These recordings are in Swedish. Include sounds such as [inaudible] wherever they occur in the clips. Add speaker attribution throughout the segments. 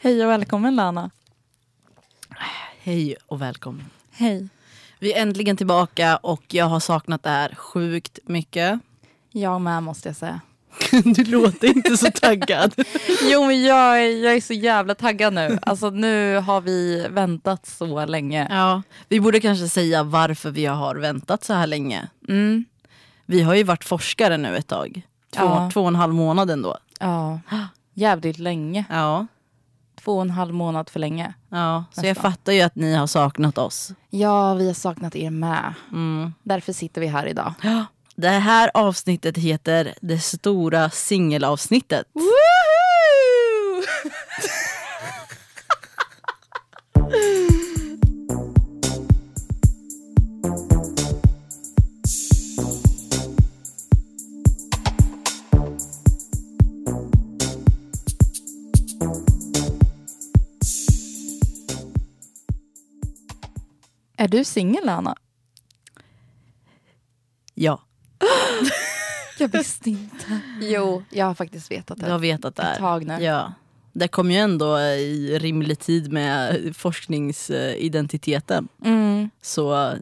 Speaker 1: Hej och välkommen Lana.
Speaker 2: Hej och välkommen.
Speaker 1: Hej.
Speaker 2: Vi är äntligen tillbaka och jag har saknat det här sjukt mycket. [laughs]
Speaker 1: Jag med måste jag säga.
Speaker 2: Du låter inte så taggad.
Speaker 1: [laughs] Jo men jag, är- jag är så jävla taggad nu. Alltså nu har vi väntat så länge.
Speaker 2: ja, vi borde kanske säga varför vi har väntat så här länge.
Speaker 1: Mm.
Speaker 2: Vi har ju varit forskare nu ett tag. Två,
Speaker 1: Ja.
Speaker 2: två och en halv månad ändå.
Speaker 1: Ja. Jävligt länge.
Speaker 2: Ja,
Speaker 1: Två och en halv månad för länge.
Speaker 2: ja. så jag
Speaker 1: Nästan.
Speaker 2: fattar ju att ni har saknat oss.
Speaker 1: Ja, vi har saknat er med.
Speaker 2: Mm. [gasps]
Speaker 1: Därför sitter vi här idag.
Speaker 2: Det här avsnittet heter Det stora singelavsnittet.
Speaker 1: Är du singel Anna?
Speaker 2: Ja,
Speaker 1: Jag visste inte. [laughs] Jo, jag har faktiskt vetat
Speaker 2: du har vetat det här.
Speaker 1: Ett tag nu.
Speaker 2: Ja. Det kom ju ändå i rimlig tid med forskningsidentiteten.
Speaker 1: Mm.
Speaker 2: Så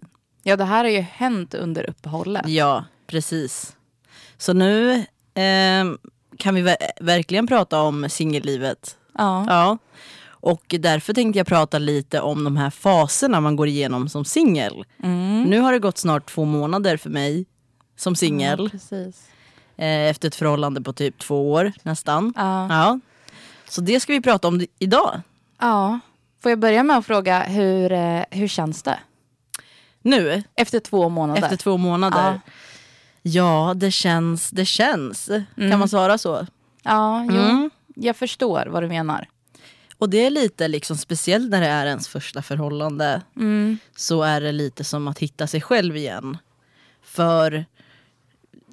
Speaker 1: Ja, det här har ju hänt under uppehållet.
Speaker 2: ja, precis. Så nu ehm, kan vi ver- verkligen prata om singellivet.
Speaker 1: Ja.
Speaker 2: Ja. Och därför tänkte jag prata lite om de här faserna man går igenom som singel.
Speaker 1: Mm.
Speaker 2: Nu har det gått snart två månader för mig som singel.
Speaker 1: Ja, precis.
Speaker 2: eh, efter ett förhållande på typ två år nästan.
Speaker 1: Ja.
Speaker 2: Ja. Så det ska vi prata om idag.
Speaker 1: Ja. Får jag börja med att fråga, hur, eh, hur känns det?
Speaker 2: Nu,
Speaker 1: Efter två månader?
Speaker 2: Efter två månader. Ja, det känns. Det känns. Kan man svara så?
Speaker 1: Ja, jo.
Speaker 2: Mm.
Speaker 1: jag förstår vad du menar.
Speaker 2: Och det är lite liksom speciellt när det är ens första förhållande.
Speaker 1: Mm.
Speaker 2: Så är det lite som att hitta sig själv igen. För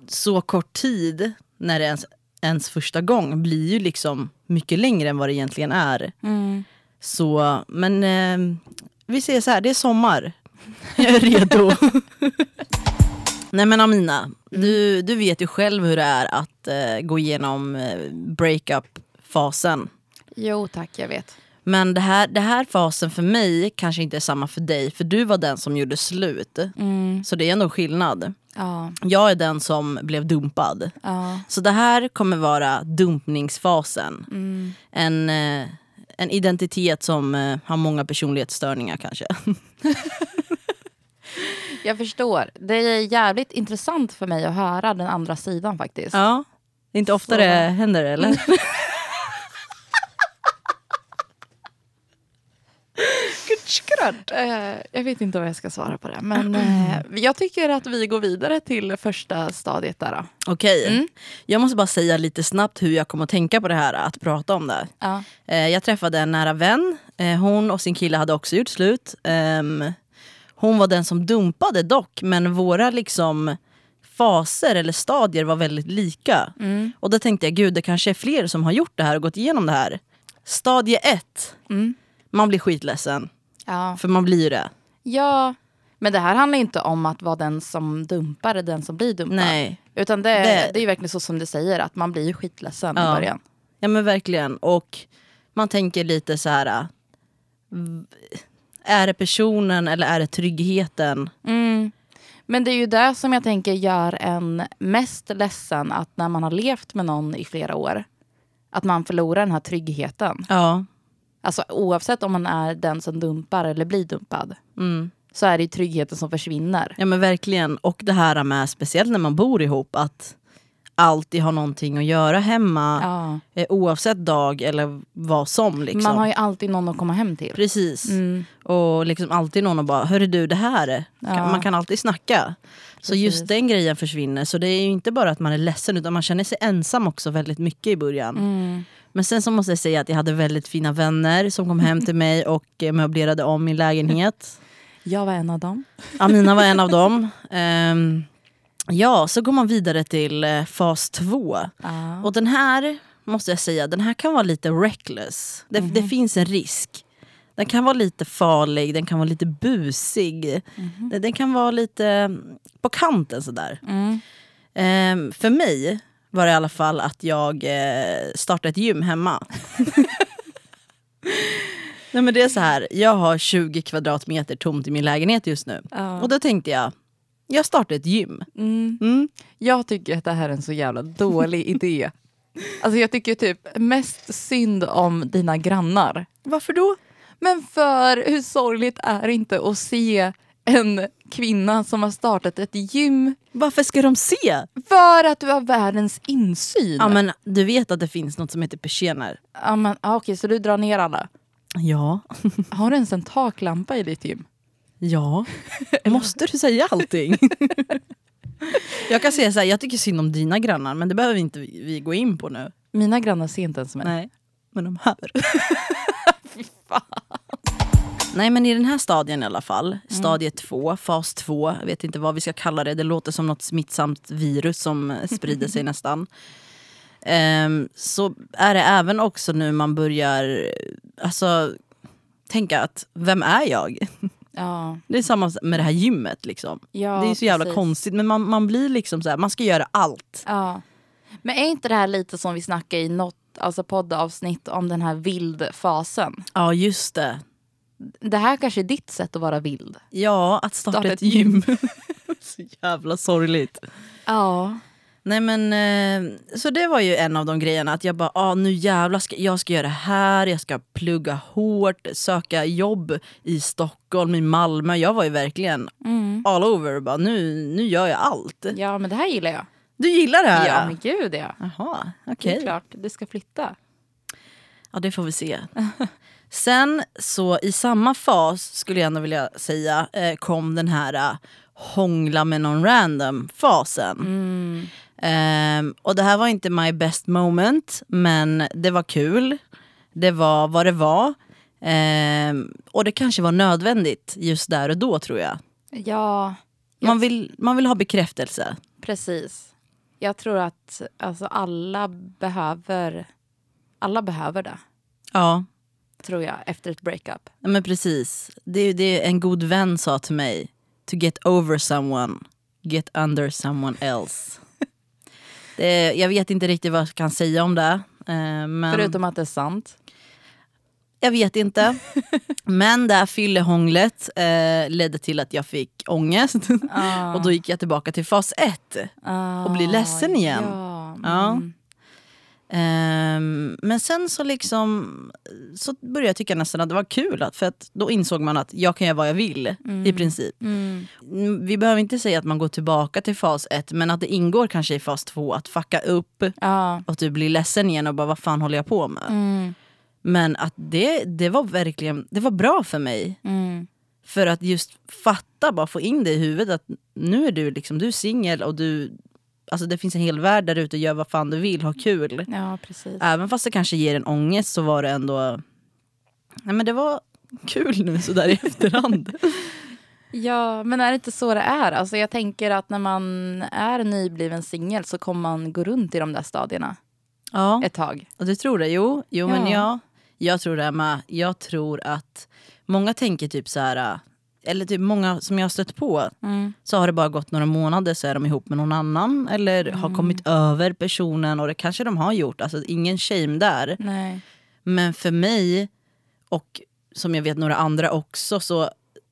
Speaker 2: så kort tid när det är ens, ens första gång blir ju liksom mycket längre än vad det egentligen är.
Speaker 1: Mm.
Speaker 2: Så, men eh, vi säger så här, det är sommar. Jag är redo. Nej men Amina, du, du vet ju själv hur det är att eh, gå igenom eh, breakup-fasen.
Speaker 1: Jo tack, jag vet.
Speaker 2: Men det här, det här fasen för mig kanske inte är samma för dig, för du var den som gjorde slut.
Speaker 1: Mm.
Speaker 2: Så det är ändå skillnad.
Speaker 1: Ja,
Speaker 2: Jag är den som blev dumpad.
Speaker 1: ja.
Speaker 2: Så det här kommer vara dumpningsfasen. En, eh, en identitet som eh, har många personlighetsstörningar kanske. [laughs]
Speaker 1: Jag förstår. Det är jävligt intressant för mig att höra den andra sidan faktiskt.
Speaker 2: Ja. Det är inte ofta
Speaker 1: Så.
Speaker 2: det händer eller?
Speaker 1: Eh, jag vet inte vad jag ska svara på det. Men eh, jag tycker att vi går vidare till första stadiet där. Då.
Speaker 2: Okej. Jag måste bara säga lite snabbt hur jag kom att tänka på det här, att prata om det.
Speaker 1: Ja.
Speaker 2: Eh, Jag träffade en nära vän. Eh, Hon och sin kille hade också gjort slut. Ehm, Hon var den som dumpade dock, men våra liksom faser eller stadier var väldigt lika. Och då tänkte jag, gud det kanske är fler som har gjort det här och gått igenom det här. Stadie ett.
Speaker 1: Mm.
Speaker 2: Man blir skitledsen,
Speaker 1: Ja.
Speaker 2: för man blir ju det.
Speaker 1: ja, men det här handlar ju inte om att vara den som dumpar eller den som blir dumpad.
Speaker 2: Nej.
Speaker 1: Utan det,
Speaker 2: Det-
Speaker 1: det... är ju verkligen så som du säger, att man blir ju skitledsen
Speaker 2: Ja.
Speaker 1: i början.
Speaker 2: Ja men verkligen. Och man tänker lite så här. äh, v- Är det personen eller är det tryggheten?
Speaker 1: Mm. Men det är ju det som jag tänker gör en mest ledsen, att när man har levt med någon i flera år, att man förlorar den här tryggheten.
Speaker 2: Ja.
Speaker 1: Alltså oavsett om man är den som dumpar eller blir dumpad,
Speaker 2: Mm.
Speaker 1: så är det ju tryggheten som försvinner.
Speaker 2: ja men verkligen. Och det här med, speciellt när man bor ihop, att alltid ha någonting att göra hemma.
Speaker 1: Ja.
Speaker 2: eh, Oavsett dag eller vad som. Liksom.
Speaker 1: Man har ju Mm. alltid någon att komma hem till.
Speaker 2: Precis. Och liksom alltid någon och bara, hörru du det här.
Speaker 1: Ja.
Speaker 2: Man kan alltid snacka. Så
Speaker 1: Precis.
Speaker 2: just den grejen försvinner. Så det är ju inte bara att man är ledsen utan man känner sig ensam också väldigt mycket i början.
Speaker 1: Mm.
Speaker 2: Men sen så måste jag säga att jag hade väldigt fina vänner som kom hem till mig och eh, möblerade om min lägenhet.
Speaker 1: Jag var en av dem.
Speaker 2: Amina var en av dem. Ehm, ja, så går man vidare till eh, fas två.
Speaker 1: Ja.
Speaker 2: Och den här, måste jag säga, den här kan vara lite reckless. Det, det finns en risk. Den kan vara lite farlig, den kan vara lite busig. Den, den kan vara lite mm, på kanten sådär.
Speaker 1: Mm.
Speaker 2: Ehm, för mig var det i alla fall att jag eh, startade ett gym hemma. [laughs] Nej, men det är så här, jag har 20 kvadratmeter tomt i min lägenhet just nu.
Speaker 1: Ja.
Speaker 2: Och då tänkte jag, jag startar ett gym.
Speaker 1: Mm.
Speaker 2: Mm.
Speaker 1: Jag tycker att det här är en så jävla
Speaker 2: [laughs]
Speaker 1: dålig idé. Alltså jag tycker typ mest synd om dina grannar.
Speaker 2: Varför då?
Speaker 1: Men för hur sorgligt är det inte att se en kvinna som har startat ett gym
Speaker 2: Varför ska de se?
Speaker 1: för att du har världens insyn?
Speaker 2: Ja, men du vet att det finns något som heter persienner?
Speaker 1: Ja, men, ah, okej, så du drar ner alla.
Speaker 2: Ja.
Speaker 1: Har du ens en taklampa i ditt gym?
Speaker 2: Ja. [laughs] Måste du säga allting? [laughs] jag kan säga så här, jag tycker synd om dina grannar men det behöver vi inte vi vi gå in på nu.
Speaker 1: Mina grannar ser inte ens mig.
Speaker 2: Nej, men de [laughs] hör. Nej men i den här stadien i alla fall, stadie 2, fas 2, jag vet inte vad vi ska kalla det, det låter som något smittsamt virus som eh, sprider [laughs] sig nästan. Ehm, så är det även också nu man börjar, eh, alltså tänka att vem är jag?
Speaker 1: Ja,
Speaker 2: Det är samma med det här gymmet liksom.
Speaker 1: ja,
Speaker 2: det är ju så jävla
Speaker 1: precis.
Speaker 2: konstigt men man, man blir liksom så här, man ska göra allt.
Speaker 1: Ja. Men är inte det här lite som vi snackade i något alltså poddavsnitt om den här vildfasen?
Speaker 2: Ja just det.
Speaker 1: Det här kanske är ditt sätt att vara vild.
Speaker 2: Ja, att starta,
Speaker 1: Starta
Speaker 2: ett
Speaker 1: ett
Speaker 2: gym. [laughs] så jävla sorgligt.
Speaker 1: Ja.
Speaker 2: Nej men, eh, så det var ju en av de grejerna. Att jag bara, ah, nu jävlar ska jag ska göra det här, jag ska plugga hårt, söka jobb i Stockholm, i Malmö. Jag var ju verkligen
Speaker 1: Mm.
Speaker 2: all over. Bara, nu, nu gör jag allt.
Speaker 1: Ja, men det här gillar jag.
Speaker 2: Du gillar det här?
Speaker 1: Ja, men gud ja.
Speaker 2: Jaha,
Speaker 1: Det
Speaker 2: okej.
Speaker 1: är klart, du ska flytta.
Speaker 2: Ja, det får vi se. [laughs] Sen så i samma fas, skulle jag ändå vilja säga, eh, kom den här eh, hångla med någon random-fasen. Ehm, och det här var inte my best moment, men det var kul. Det var vad det var. Ehm, och det kanske var nödvändigt just där och då tror jag.
Speaker 1: Ja,
Speaker 2: Man vill, man vill ha bekräftelse.
Speaker 1: precis. Jag tror att alltså, alla, behöver, alla behöver det,
Speaker 2: Ja,
Speaker 1: tror jag, efter ett breakup.
Speaker 2: Ja, men precis. Det, det en god vän sa till mig. To get over someone, get under someone
Speaker 1: [laughs]
Speaker 2: else. det, jag vet inte riktigt vad jag kan säga om det. eh, Men
Speaker 1: Förutom att det är sant.
Speaker 2: Jag
Speaker 1: [laughs]
Speaker 2: vet inte. men det här fyllehånglet eh, ledde till att jag fick ångest.
Speaker 1: Ah.
Speaker 2: [laughs] och då gick jag tillbaka till fas ett. och bli ledsen igen.
Speaker 1: Ja.
Speaker 2: Ja.
Speaker 1: Mm.
Speaker 2: Ehm, men sen så liksom så började jag tycka nästan att det var kul. Att, för att då insåg man att jag kan göra vad jag vill i princip.
Speaker 1: Mm.
Speaker 2: Mm, Vi behöver inte säga att man går tillbaka till fas 1 men att det ingår kanske i fas 2 att fucka upp
Speaker 1: Ja.
Speaker 2: och att du blir ledsen igen och bara vad fan håller jag på med?
Speaker 1: Mm.
Speaker 2: Men att det, det var verkligen det var bra för mig.
Speaker 1: Mm.
Speaker 2: För att just fatta, bara få in det i huvudet att nu är du liksom, du är singel och du, alltså det finns en hel värld där ute, gör vad fan du vill, ha kul.
Speaker 1: Ja, precis.
Speaker 2: Även fast det kanske ger en ångest så var det ändå, nej men det var kul nu sådär i [laughs] efterhand.
Speaker 1: Ja, men är det inte så det är? Alltså, jag tänker att när man är nybliven singel så kommer man gå runt i de där stadierna
Speaker 2: Ja.
Speaker 1: ett tag.
Speaker 2: Och du tror det? Jo, jo men
Speaker 1: Ja.
Speaker 2: ja. Jag tror det här med. Jag tror att många tänker typ så här. äh, Eller typ många som jag har stött på.
Speaker 1: Mm,
Speaker 2: Så har det bara gått några månader så är de ihop med någon annan. Eller har kommit över personen. Och det kanske de har gjort. Alltså ingen shame där.
Speaker 1: Nej.
Speaker 2: Men för mig. Och som jag vet några andra också. Så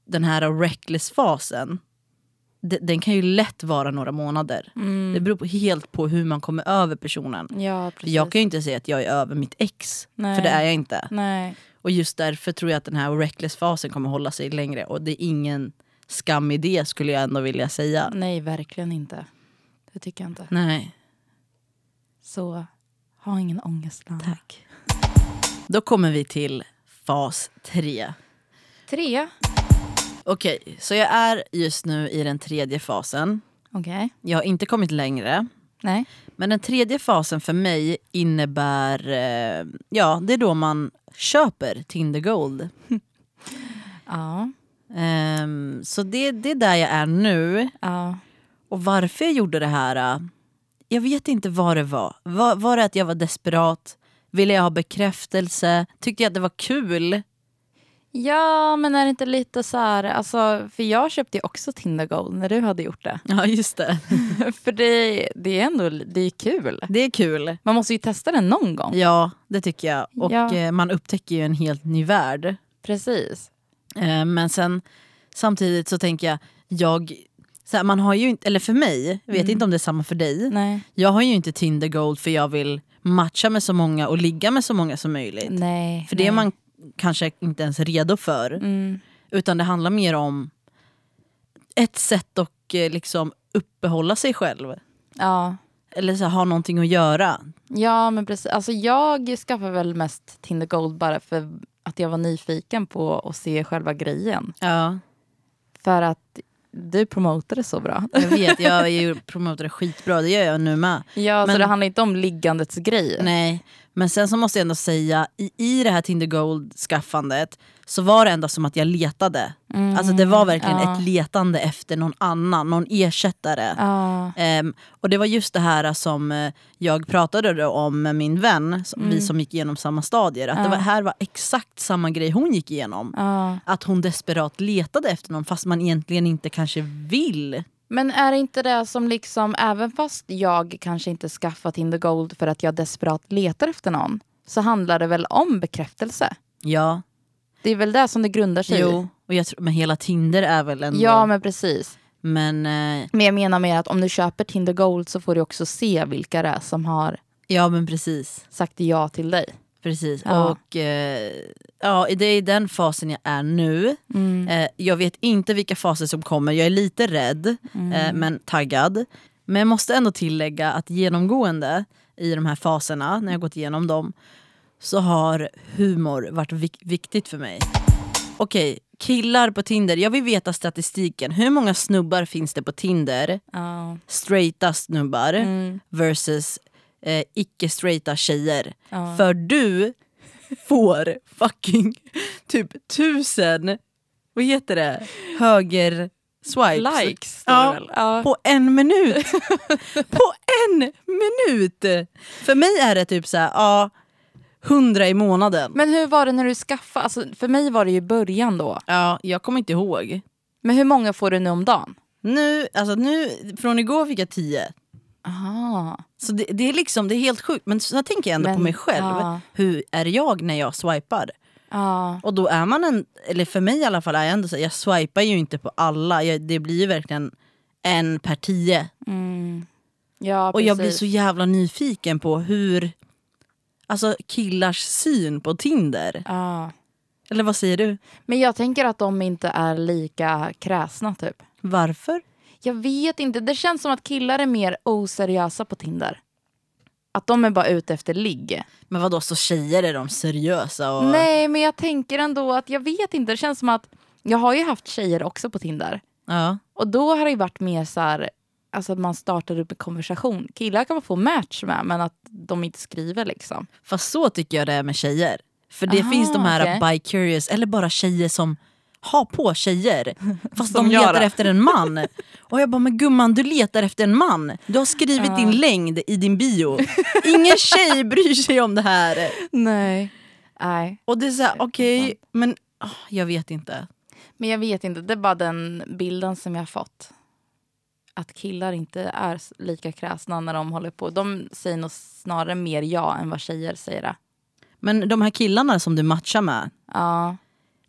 Speaker 2: den här reckless-fasen. de- Den kan ju lätt vara några månader.
Speaker 1: Mm.
Speaker 2: Det beror på, helt på hur man kommer över personen.
Speaker 1: Ja, precis.
Speaker 2: Jag kan ju inte säga att jag är över mitt ex,
Speaker 1: Nej.
Speaker 2: för det är jag inte.
Speaker 1: Nej.
Speaker 2: Och just därför tror jag att den här reckless-fasen kommer hålla sig längre. Och det är ingen skam i det skulle jag ändå vilja säga.
Speaker 1: Nej, verkligen inte. Det tycker jag inte.
Speaker 2: Nej,
Speaker 1: Så ha ingen ångest. Nanna.
Speaker 2: tack. Då kommer vi till fas 3.
Speaker 1: Tre.
Speaker 2: Okej, så jag är just nu i den tredje fasen.
Speaker 1: Okej.
Speaker 2: Jag har inte kommit längre.
Speaker 1: Nej.
Speaker 2: Men den tredje fasen för mig innebär... Eh, ja, det är då man köper Tinder Gold.
Speaker 1: Ja.
Speaker 2: Ehm, så det, det är där jag är nu.
Speaker 1: Ja.
Speaker 2: Och varför jag gjorde det här... äh, Jag vet inte vad det var. Var, var det att jag var desperat? Ville jag ha bekräftelse? Tyckte jag att det var kul? [laughs]
Speaker 1: Ja, men är det inte lite så här... Alltså, för jag köpte ju också Tinder Gold när du hade gjort det. [laughs]
Speaker 2: Ja, just det.
Speaker 1: för det, det är ändå det är kul.
Speaker 2: Det är kul.
Speaker 1: Man måste ju testa den någon gång.
Speaker 2: Ja, det tycker jag. Och
Speaker 1: Ja.
Speaker 2: eh, man upptäcker ju en helt ny värld.
Speaker 1: Precis.
Speaker 2: Eh, men sen samtidigt så tänker jag, jag så här, man har ju inte, eller för mig, jag vet inte om det är samma för dig.
Speaker 1: Nej.
Speaker 2: Jag har ju inte Tinder Gold för jag vill matcha med så många och ligga med så många som möjligt.
Speaker 1: Nej.
Speaker 2: För det är
Speaker 1: nej.
Speaker 2: man kanske inte ens redo för.
Speaker 1: Mm.
Speaker 2: Utan det handlar mer om ett sätt att eh, liksom uppehålla sig själv.
Speaker 1: Ja.
Speaker 2: Eller så här, ha någonting att göra.
Speaker 1: ja, men precis. Alltså, jag skaffade väl mest Tinder Gold bara för att jag var nyfiken på att se själva grejen.
Speaker 2: Ja,
Speaker 1: För att du promotade så bra.
Speaker 2: jag vet. Jag är ju promotor skitbra, det gör jag nu med.
Speaker 1: Ja,
Speaker 2: Men-
Speaker 1: så det handlar inte om liggandets grej.
Speaker 2: Nej, men sen så måste jag ändå säga, i, i det här Tinder Gold-skaffandet så var det ändå som att jag letade. Alltså det var verkligen
Speaker 1: Mm, ja.
Speaker 2: ett letande efter någon annan, någon ersättare.
Speaker 1: Ja.
Speaker 2: Ehm, och det var just det här som eh, jag pratade då om med min vän, som,
Speaker 1: Mm.
Speaker 2: vi som gick igenom samma stadier. Att det var, här var exakt samma grej hon gick igenom.
Speaker 1: Ja.
Speaker 2: Att hon desperat letade efter någon fast man egentligen inte kanske vill.
Speaker 1: Men är det inte det som liksom, även fast jag kanske inte skaffat Tinder Gold för att jag desperat letar efter någon, så handlar det väl om bekräftelse?
Speaker 2: Ja,
Speaker 1: Det är väl det som det grundar sig
Speaker 2: jo. Och jag tror, men hela Tinder är väl
Speaker 1: i?
Speaker 2: ändå...
Speaker 1: Ja, men precis.
Speaker 2: men eh,
Speaker 1: Men jag menar mer att om du köper Tinder Gold så får du också se vilka det är som har
Speaker 2: ja men precis.
Speaker 1: sagt ja till dig.
Speaker 2: Precis.
Speaker 1: Ja.
Speaker 2: Och eh, ja, det är i den fasen jag är nu. Eh, jag vet inte vilka faser som kommer. Jag är lite rädd, eh, men taggad. Men jag måste ändå tillägga att genomgående i de här faserna, när jag gått igenom dem, så har humor varit vik- viktigt för mig. Okej, killar på Tinder. Jag vill veta statistiken. Hur många snubbar finns det på Tinder?
Speaker 1: Ja.
Speaker 2: straighta snubbar
Speaker 1: Mm.
Speaker 2: versus eh, icke-straighta tjejer. För du får fucking typ tusen, vad heter det, höger swipes.
Speaker 1: Likes, står det
Speaker 2: ja,
Speaker 1: väl? Ja.
Speaker 2: På
Speaker 1: [laughs]
Speaker 2: en minut! på en minut! För mig är det typ såhär, ja, hundra i månaden.
Speaker 1: Men hur var det när du skaffade? Alltså, för mig var det ju början då.
Speaker 2: ja, jag kommer inte ihåg.
Speaker 1: Men hur många får du nu om dagen?
Speaker 2: Nu, alltså nu, från igår fick jag tio.
Speaker 1: Aha.
Speaker 2: Så det, det, är liksom, det är helt sjukt. Men så tänker jag ändå
Speaker 1: Men,
Speaker 2: på mig själv.
Speaker 1: ja.
Speaker 2: Hur är jag när jag swipar?
Speaker 1: Ja.
Speaker 2: Och då är man en, eller för mig i alla fall, är jag ändå så här, jag swipar ju inte på alla. Jag, det blir ju verkligen en per tio.
Speaker 1: Ja,
Speaker 2: Och jag blir
Speaker 1: precis.
Speaker 2: så jävla nyfiken på hur, alltså killars syn på Tinder.
Speaker 1: Ja.
Speaker 2: Eller vad säger du?
Speaker 1: Men jag tänker att de inte är lika kräsna typ.
Speaker 2: Varför?
Speaker 1: Jag vet inte, det känns som att killar är mer oseriösa på Tinder. Att de är bara ute efter ligg.
Speaker 2: Men vadå, så tjejer är de seriösa? Och,
Speaker 1: Nej, men jag tänker ändå att jag vet inte, det känns som att jag har ju haft tjejer också på Tinder.
Speaker 2: Ja.
Speaker 1: Och då har det ju varit mer så här, alltså att man startar upp en konversation. Killar kan man få match med, men att de inte skriver liksom.
Speaker 2: Fast så tycker jag det är med tjejer. För det
Speaker 1: Aha,
Speaker 2: finns de här
Speaker 1: okej.
Speaker 2: bi-curious, eller bara tjejer som har på tjejer. Fast
Speaker 1: Som
Speaker 2: de
Speaker 1: jag
Speaker 2: letar
Speaker 1: då.
Speaker 2: efter en man. Och jag bara, men gumman du letar efter en man. Du har skrivit din längd i din bio. Ingen tjej bryr sig om det här.
Speaker 1: Nej. Nej,
Speaker 2: Och det är såhär, okej,
Speaker 1: alltså.
Speaker 2: men ah, jag vet inte.
Speaker 1: men jag vet inte, det är bara den bilden som jag har fått. Att killar inte är s- lika kräsna när de håller på. De säger nog snarare mer ja än vad tjejer säger det.
Speaker 2: Men de här killarna som du matchar med.
Speaker 1: Ja.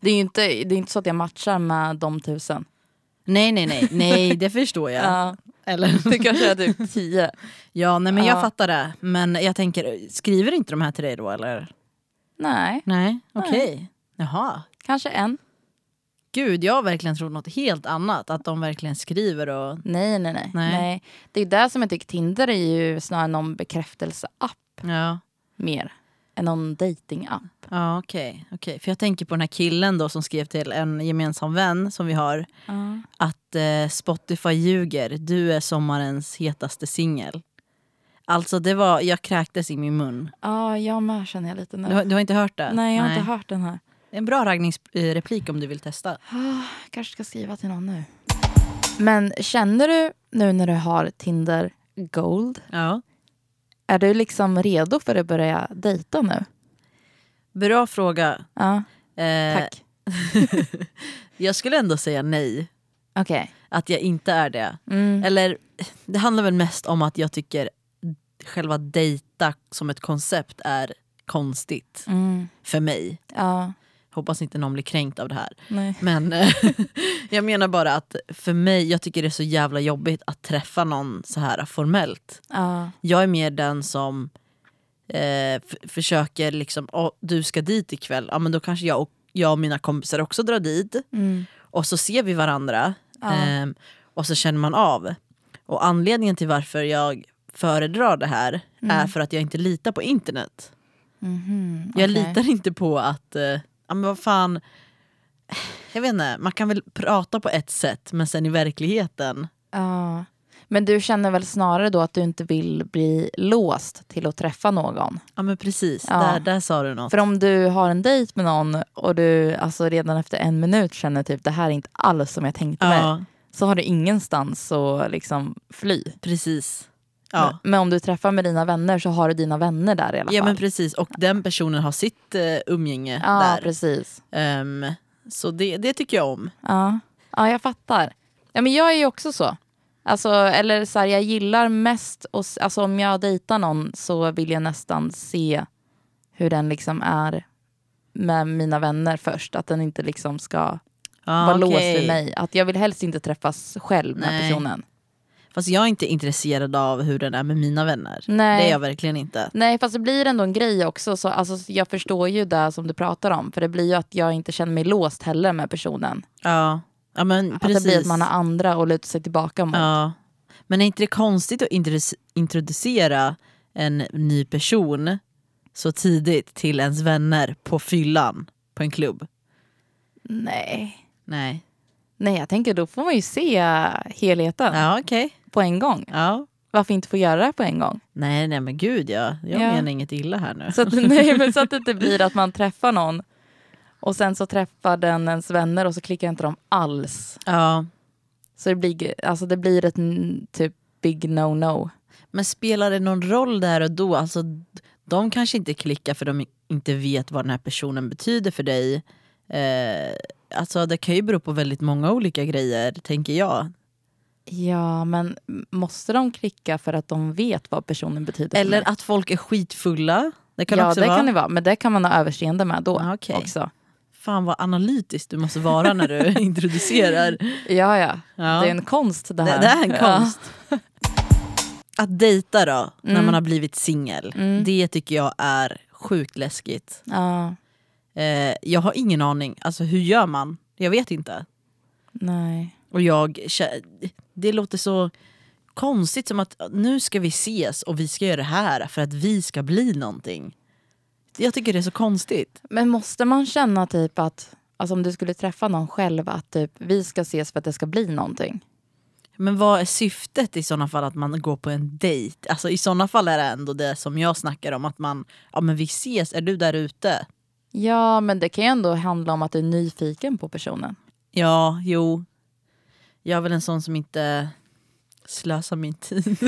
Speaker 1: Det är ju inte, det är inte så att jag matchar med de tusen.
Speaker 2: Nej, nej, nej, nej, det förstår jag.
Speaker 1: Ja.
Speaker 2: Eller?
Speaker 1: Det kanske är typ tio.
Speaker 2: Ja, nej men jag
Speaker 1: Ja.
Speaker 2: fattar det. Men jag tänker, skriver inte de här till dig då eller?
Speaker 1: Nej,
Speaker 2: Nej, okej. Jaha,
Speaker 1: kanske en.
Speaker 2: Gud, jag har verkligen trott något helt annat. Att de verkligen skriver och...
Speaker 1: Nej, nej, nej.
Speaker 2: Nej.
Speaker 1: Det är det som jag tycker Tinder är ju snarare någon bekräftelseapp
Speaker 2: Ja,
Speaker 1: mer än någon datingapp.
Speaker 2: ja okej. okej. För jag tänker på den här killen då som skrev till en gemensam vän som vi har. Att eh, Spotify ljuger. Du är sommarens hetaste singel. Alltså, det var, jag kräktes i min mun.
Speaker 1: Ja, jag med känner jag lite nu.
Speaker 2: Du, har- du har inte hört det?
Speaker 1: Nej, jag har inte hört den här.
Speaker 2: Det är en bra raggningsreplik om du vill testa.
Speaker 1: Ah, kanske ska skriva till någon nu. Men känner du nu när du har Tinder Gold,
Speaker 2: Ja.
Speaker 1: är du liksom redo för att börja dejta nu?
Speaker 2: Bra fråga.
Speaker 1: Ja,
Speaker 2: Eh,
Speaker 1: tack.
Speaker 2: jag skulle ändå säga nej.
Speaker 1: Okej.
Speaker 2: Att jag inte är det.
Speaker 1: Mm.
Speaker 2: Eller det handlar väl mest om att jag tycker själva dejta som ett koncept är konstigt
Speaker 1: Mm.
Speaker 2: för mig.
Speaker 1: Ja.
Speaker 2: Hoppas inte någon blir kränkt av det här.
Speaker 1: Nej.
Speaker 2: Men [laughs] eh, jag menar bara att för mig, jag tycker det är så jävla jobbigt att träffa någon så här formellt.
Speaker 1: Ja.
Speaker 2: Jag är mer den som eh, f- försöker liksom, "Åh, du ska dit ikväll, ja men då kanske jag och, jag och mina kompisar också drar dit.
Speaker 1: Mm.
Speaker 2: Och så ser vi varandra
Speaker 1: Ja.
Speaker 2: ehm, och så känner man av. Och anledningen till varför jag föredrar det här
Speaker 1: Mm.
Speaker 2: är för att jag inte litar på internet.
Speaker 1: Mhm,
Speaker 2: Jag
Speaker 1: okej.
Speaker 2: litar inte på att, eh, ja men vad fan, jag vet inte, man kan väl prata på ett sätt men sen i verkligheten.
Speaker 1: Ja. Men du känner väl snarare då att du inte vill bli låst till att träffa någon?
Speaker 2: Ja men precis,
Speaker 1: Ja.
Speaker 2: där, där sa du något.
Speaker 1: För om du har en dejt med någon och du alltså, redan efter en minut känner typ det här är inte alls som jag tänkte mig,
Speaker 2: Ja,
Speaker 1: så har du ingenstans att liksom fly.
Speaker 2: precis. Ja.
Speaker 1: Men, men om du träffar med dina vänner så har du dina vänner där i alla fall.
Speaker 2: ja men precis, och den personen har sitt eh, umgänge
Speaker 1: ja,
Speaker 2: där.
Speaker 1: precis.
Speaker 2: Ehm, så det, det tycker jag om.
Speaker 1: Ja. ja, jag fattar. Ja, men jag är ju också så. Alltså, eller så här, jag gillar mest, och, s- alltså, om jag dejtar någon så vill jag nästan se hur den liksom är med mina vänner först. Att den inte liksom ska
Speaker 2: Ah,
Speaker 1: vara låst
Speaker 2: okej.
Speaker 1: vid mig. Att jag vill helst inte träffas själv med
Speaker 2: Nej.
Speaker 1: personen.
Speaker 2: Fast jag är inte intresserad av hur den är med mina vänner.
Speaker 1: Nej.
Speaker 2: Det är jag verkligen inte.
Speaker 1: Nej, fast det blir ändå en grej också. Så, alltså, jag förstår ju det som du pratar om. För det blir ju att jag inte känner mig låst heller med personen.
Speaker 2: Ja, ja men
Speaker 1: Att
Speaker 2: precis.
Speaker 1: det blir att man har andra att luta sig tillbaka mot.
Speaker 2: ja. Men är inte det konstigt att introdu- introducera en ny person så tidigt till ens vänner på fyllan på en klubb?
Speaker 1: Nej.
Speaker 2: Nej.
Speaker 1: Nej, jag tänker då får man ju se helheten
Speaker 2: Ja, okej.
Speaker 1: på en gång.
Speaker 2: Ja.
Speaker 1: Varför inte få göra det på en gång?
Speaker 2: Nej, nej men gud ja. Jag
Speaker 1: Ja.
Speaker 2: menar inget illa här nu.
Speaker 1: Så att, [laughs] nej, men så att det inte blir att man träffar någon och sen så träffar den ens vänner och så klickar inte de alls.
Speaker 2: Ja.
Speaker 1: Så det blir, alltså det blir ett mm, typ big no-no.
Speaker 2: Men spelar det någon roll där och då? Alltså, de kanske inte klickar för de inte vet vad den här personen betyder för dig. Eh, alltså det kan ju bero på väldigt många olika grejer, tänker jag.
Speaker 1: Ja, men måste de klicka för att de vet vad personen betyder? för mig?
Speaker 2: Eller att folk är skitfulla. Det kan
Speaker 1: ja,
Speaker 2: också
Speaker 1: det
Speaker 2: vara.
Speaker 1: kan det vara. Men det kan man ha överseende med då
Speaker 2: Ah, okej.
Speaker 1: också.
Speaker 2: Fan vad analytisk du måste vara
Speaker 1: [laughs]
Speaker 2: när du introducerar.
Speaker 1: Ja, ja,
Speaker 2: Ja.
Speaker 1: Det är en konst det
Speaker 2: Det,
Speaker 1: här.
Speaker 2: det är en
Speaker 1: Ja. [laughs]
Speaker 2: konst. Att dejta då,
Speaker 1: Mm.
Speaker 2: när man har blivit singel. Det tycker jag är sjukt läskigt.
Speaker 1: Ja,
Speaker 2: Eh, jag har ingen aning. Alltså hur gör man? Jag vet inte.
Speaker 1: nej.
Speaker 2: Och jag, kä- det låter så konstigt som att nu ska vi ses och vi ska göra det här för att vi ska bli någonting. Jag tycker det är så konstigt.
Speaker 1: Men måste man känna typ att, alltså om du skulle träffa någon själv, att typ vi ska ses för att det ska bli någonting?
Speaker 2: Men vad är syftet i sådana fall att man går på en dejt? Alltså i sådana fall är det ändå det som jag snackar om att man, ja men vi ses, är du där ute?
Speaker 1: Ja, men det kan ju ändå handla om att du är nyfiken på personen.
Speaker 2: Ja, jo. Jag är väl en sån som inte slösar min tid.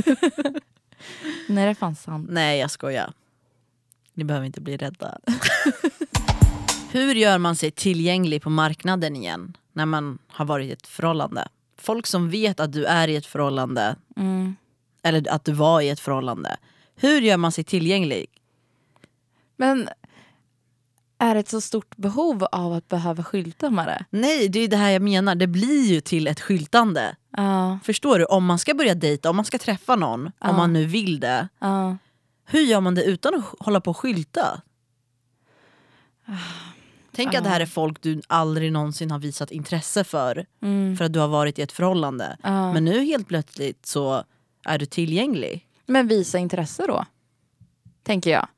Speaker 1: Nej, det är fan sant.
Speaker 2: Nej, jag skojar. Ni behöver inte bli rädda. [laughs] Hur gör man sig tillgänglig på marknaden igen när man har varit i ett förhållande? Folk som vet att du är i ett förhållande,
Speaker 1: Mm.
Speaker 2: eller att du var i ett förhållande. Hur gör man sig tillgänglig?
Speaker 1: Men är det ett så stort behov av att behöva skylta med det?
Speaker 2: Nej, det är det här jag menar. Det blir ju till ett skyltande.
Speaker 1: Ja,
Speaker 2: Förstår du? Om man ska börja dejta, om man ska träffa någon, om man nu vill det.
Speaker 1: ja.
Speaker 2: Hur gör man det utan att hålla på och skylta? Tänk att det här är folk du aldrig någonsin har visat intresse för.
Speaker 1: Mm.
Speaker 2: För att du har varit i ett förhållande.
Speaker 1: Ja.
Speaker 2: Men nu helt plötsligt så är du tillgänglig. [laughs]
Speaker 1: Men visa intresse då, tänker jag.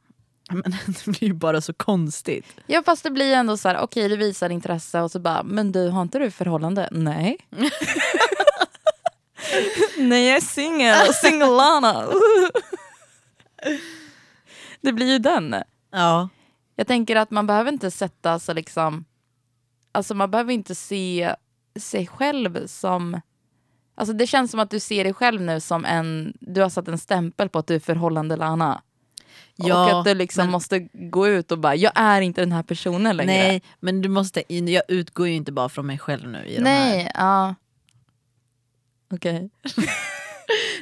Speaker 2: Men det blir ju bara så konstigt.
Speaker 1: Ja, fast det blir ändå så här, okej du visar intresse och så bara, men du har inte du förhållande? Nej. [laughs] Nej, jag är singel, singelana. det blir ju den.
Speaker 2: Ja.
Speaker 1: Jag tänker att man behöver inte sätta sig liksom, alltså man behöver inte se sig själv som, alltså det känns som att du ser dig själv nu som en, du har satt en stämpel på att du är förhållande lana.
Speaker 2: ja
Speaker 1: och att du liksom
Speaker 2: men-
Speaker 1: måste gå ut och bara, jag är inte den här personen längre.
Speaker 2: Nej, men du måste, in- jag utgår ju inte bara från mig själv nu i de här.
Speaker 1: Nej, ja. Okej.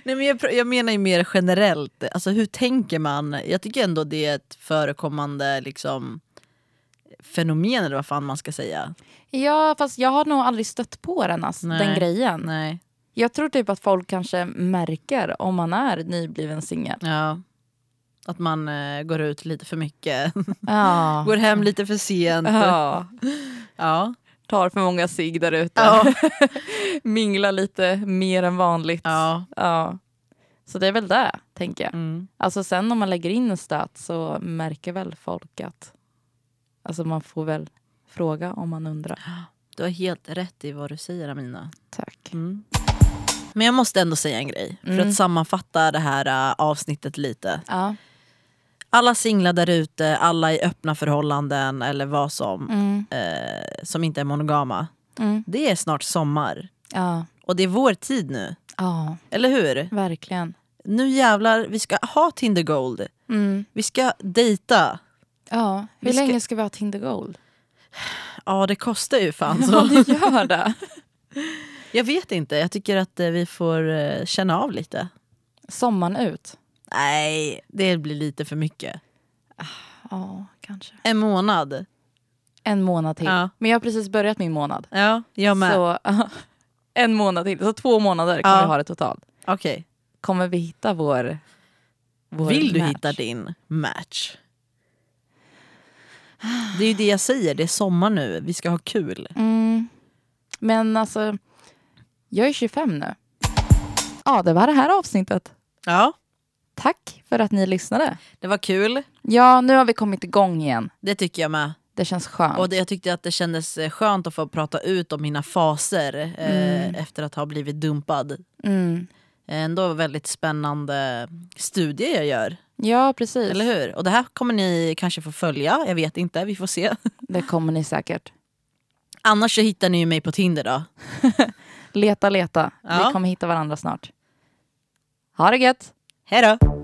Speaker 2: Nej, men jag, pr- jag menar ju mer generellt. Alltså hur tänker man? Jag tycker ändå det är ett förekommande liksom, fenomen eller vad fan man ska säga.
Speaker 1: Ja, fast jag har nog aldrig stött på den, alltså,
Speaker 2: Nej.
Speaker 1: den grejen.
Speaker 2: Nej.
Speaker 1: Jag tror typ att folk kanske märker om man är nybliven singel.
Speaker 2: Ja. Att man eh, går ut lite för mycket,
Speaker 1: [laughs]
Speaker 2: [laughs]
Speaker 1: Ja.
Speaker 2: går hem lite för sent.
Speaker 1: ja.
Speaker 2: Ja.
Speaker 1: Tar för många cigg där ute.
Speaker 2: Ja.
Speaker 1: [laughs] Minglar lite mer än vanligt.
Speaker 2: ja.
Speaker 1: Ja. Så det är väl det, tänker jag.
Speaker 2: Mm.
Speaker 1: Alltså sen om man lägger in en stöt så märker väl folk att... Alltså man får väl fråga om man undrar.
Speaker 2: Du har helt rätt i vad du säger Amina.
Speaker 1: Tack.
Speaker 2: Mm. Men jag måste ändå säga en grej för
Speaker 1: Mm.
Speaker 2: att sammanfatta det här eh, avsnittet lite.
Speaker 1: Ja.
Speaker 2: Alla singlar där ute, alla i öppna förhållanden eller vad som,
Speaker 1: Mm.
Speaker 2: eh, som inte är monogama.
Speaker 1: Mm.
Speaker 2: Det är snart sommar
Speaker 1: Ja.
Speaker 2: och det är vår tid nu.
Speaker 1: ja,
Speaker 2: Eller hur?
Speaker 1: verkligen.
Speaker 2: Nu jävlar, vi ska ha Tinder Gold.
Speaker 1: Mm.
Speaker 2: Vi ska dejta.
Speaker 1: Ja. Hur
Speaker 2: Vi ska-
Speaker 1: länge ska vi ha Tinder Gold?
Speaker 2: Ja, det kostar ju fan
Speaker 1: Ja,
Speaker 2: så.
Speaker 1: det gör det.
Speaker 2: Jag vet inte, jag tycker att eh, vi får eh, känna av lite.
Speaker 1: [laughs] Sommaren ut?
Speaker 2: Nej, det blir lite för mycket.
Speaker 1: Ja, kanske.
Speaker 2: En månad.
Speaker 1: En månad till.
Speaker 2: Ja.
Speaker 1: Men jag har precis börjat min månad.
Speaker 2: Ja, jag med.
Speaker 1: Så, [laughs] en månad till. Så två månader kommer
Speaker 2: Ja.
Speaker 1: vi ha det totalt.
Speaker 2: Okej.
Speaker 1: Kommer vi hitta vår... vår
Speaker 2: Vill du
Speaker 1: match?
Speaker 2: hitta din match? Det är ju det jag säger, det är sommar nu, vi ska ha kul.
Speaker 1: Mm. Men alltså, jag är 25 nu. Ja, det var det här avsnittet.
Speaker 2: Ja,
Speaker 1: Tack för att ni lyssnade.
Speaker 2: det var kul.
Speaker 1: Ja, nu har vi kommit igång igen.
Speaker 2: Det tycker jag med.
Speaker 1: Det känns skönt.
Speaker 2: Och det, jag tyckte att det kändes eh, skönt att få prata ut om mina faser eh, efter att ha blivit dumpad.
Speaker 1: Mm.
Speaker 2: Ändå väldigt spännande studie jag gör,
Speaker 1: Ja, precis.
Speaker 2: eller hur? Och det här kommer ni kanske få följa, jag vet inte, vi får se. [laughs]
Speaker 1: Det kommer ni säkert.
Speaker 2: Annars så hittar ni ju mig på Tinder då.
Speaker 1: Leta, leta.
Speaker 2: Ja.
Speaker 1: Vi kommer hitta varandra snart. Ha det gött!
Speaker 2: Hej då!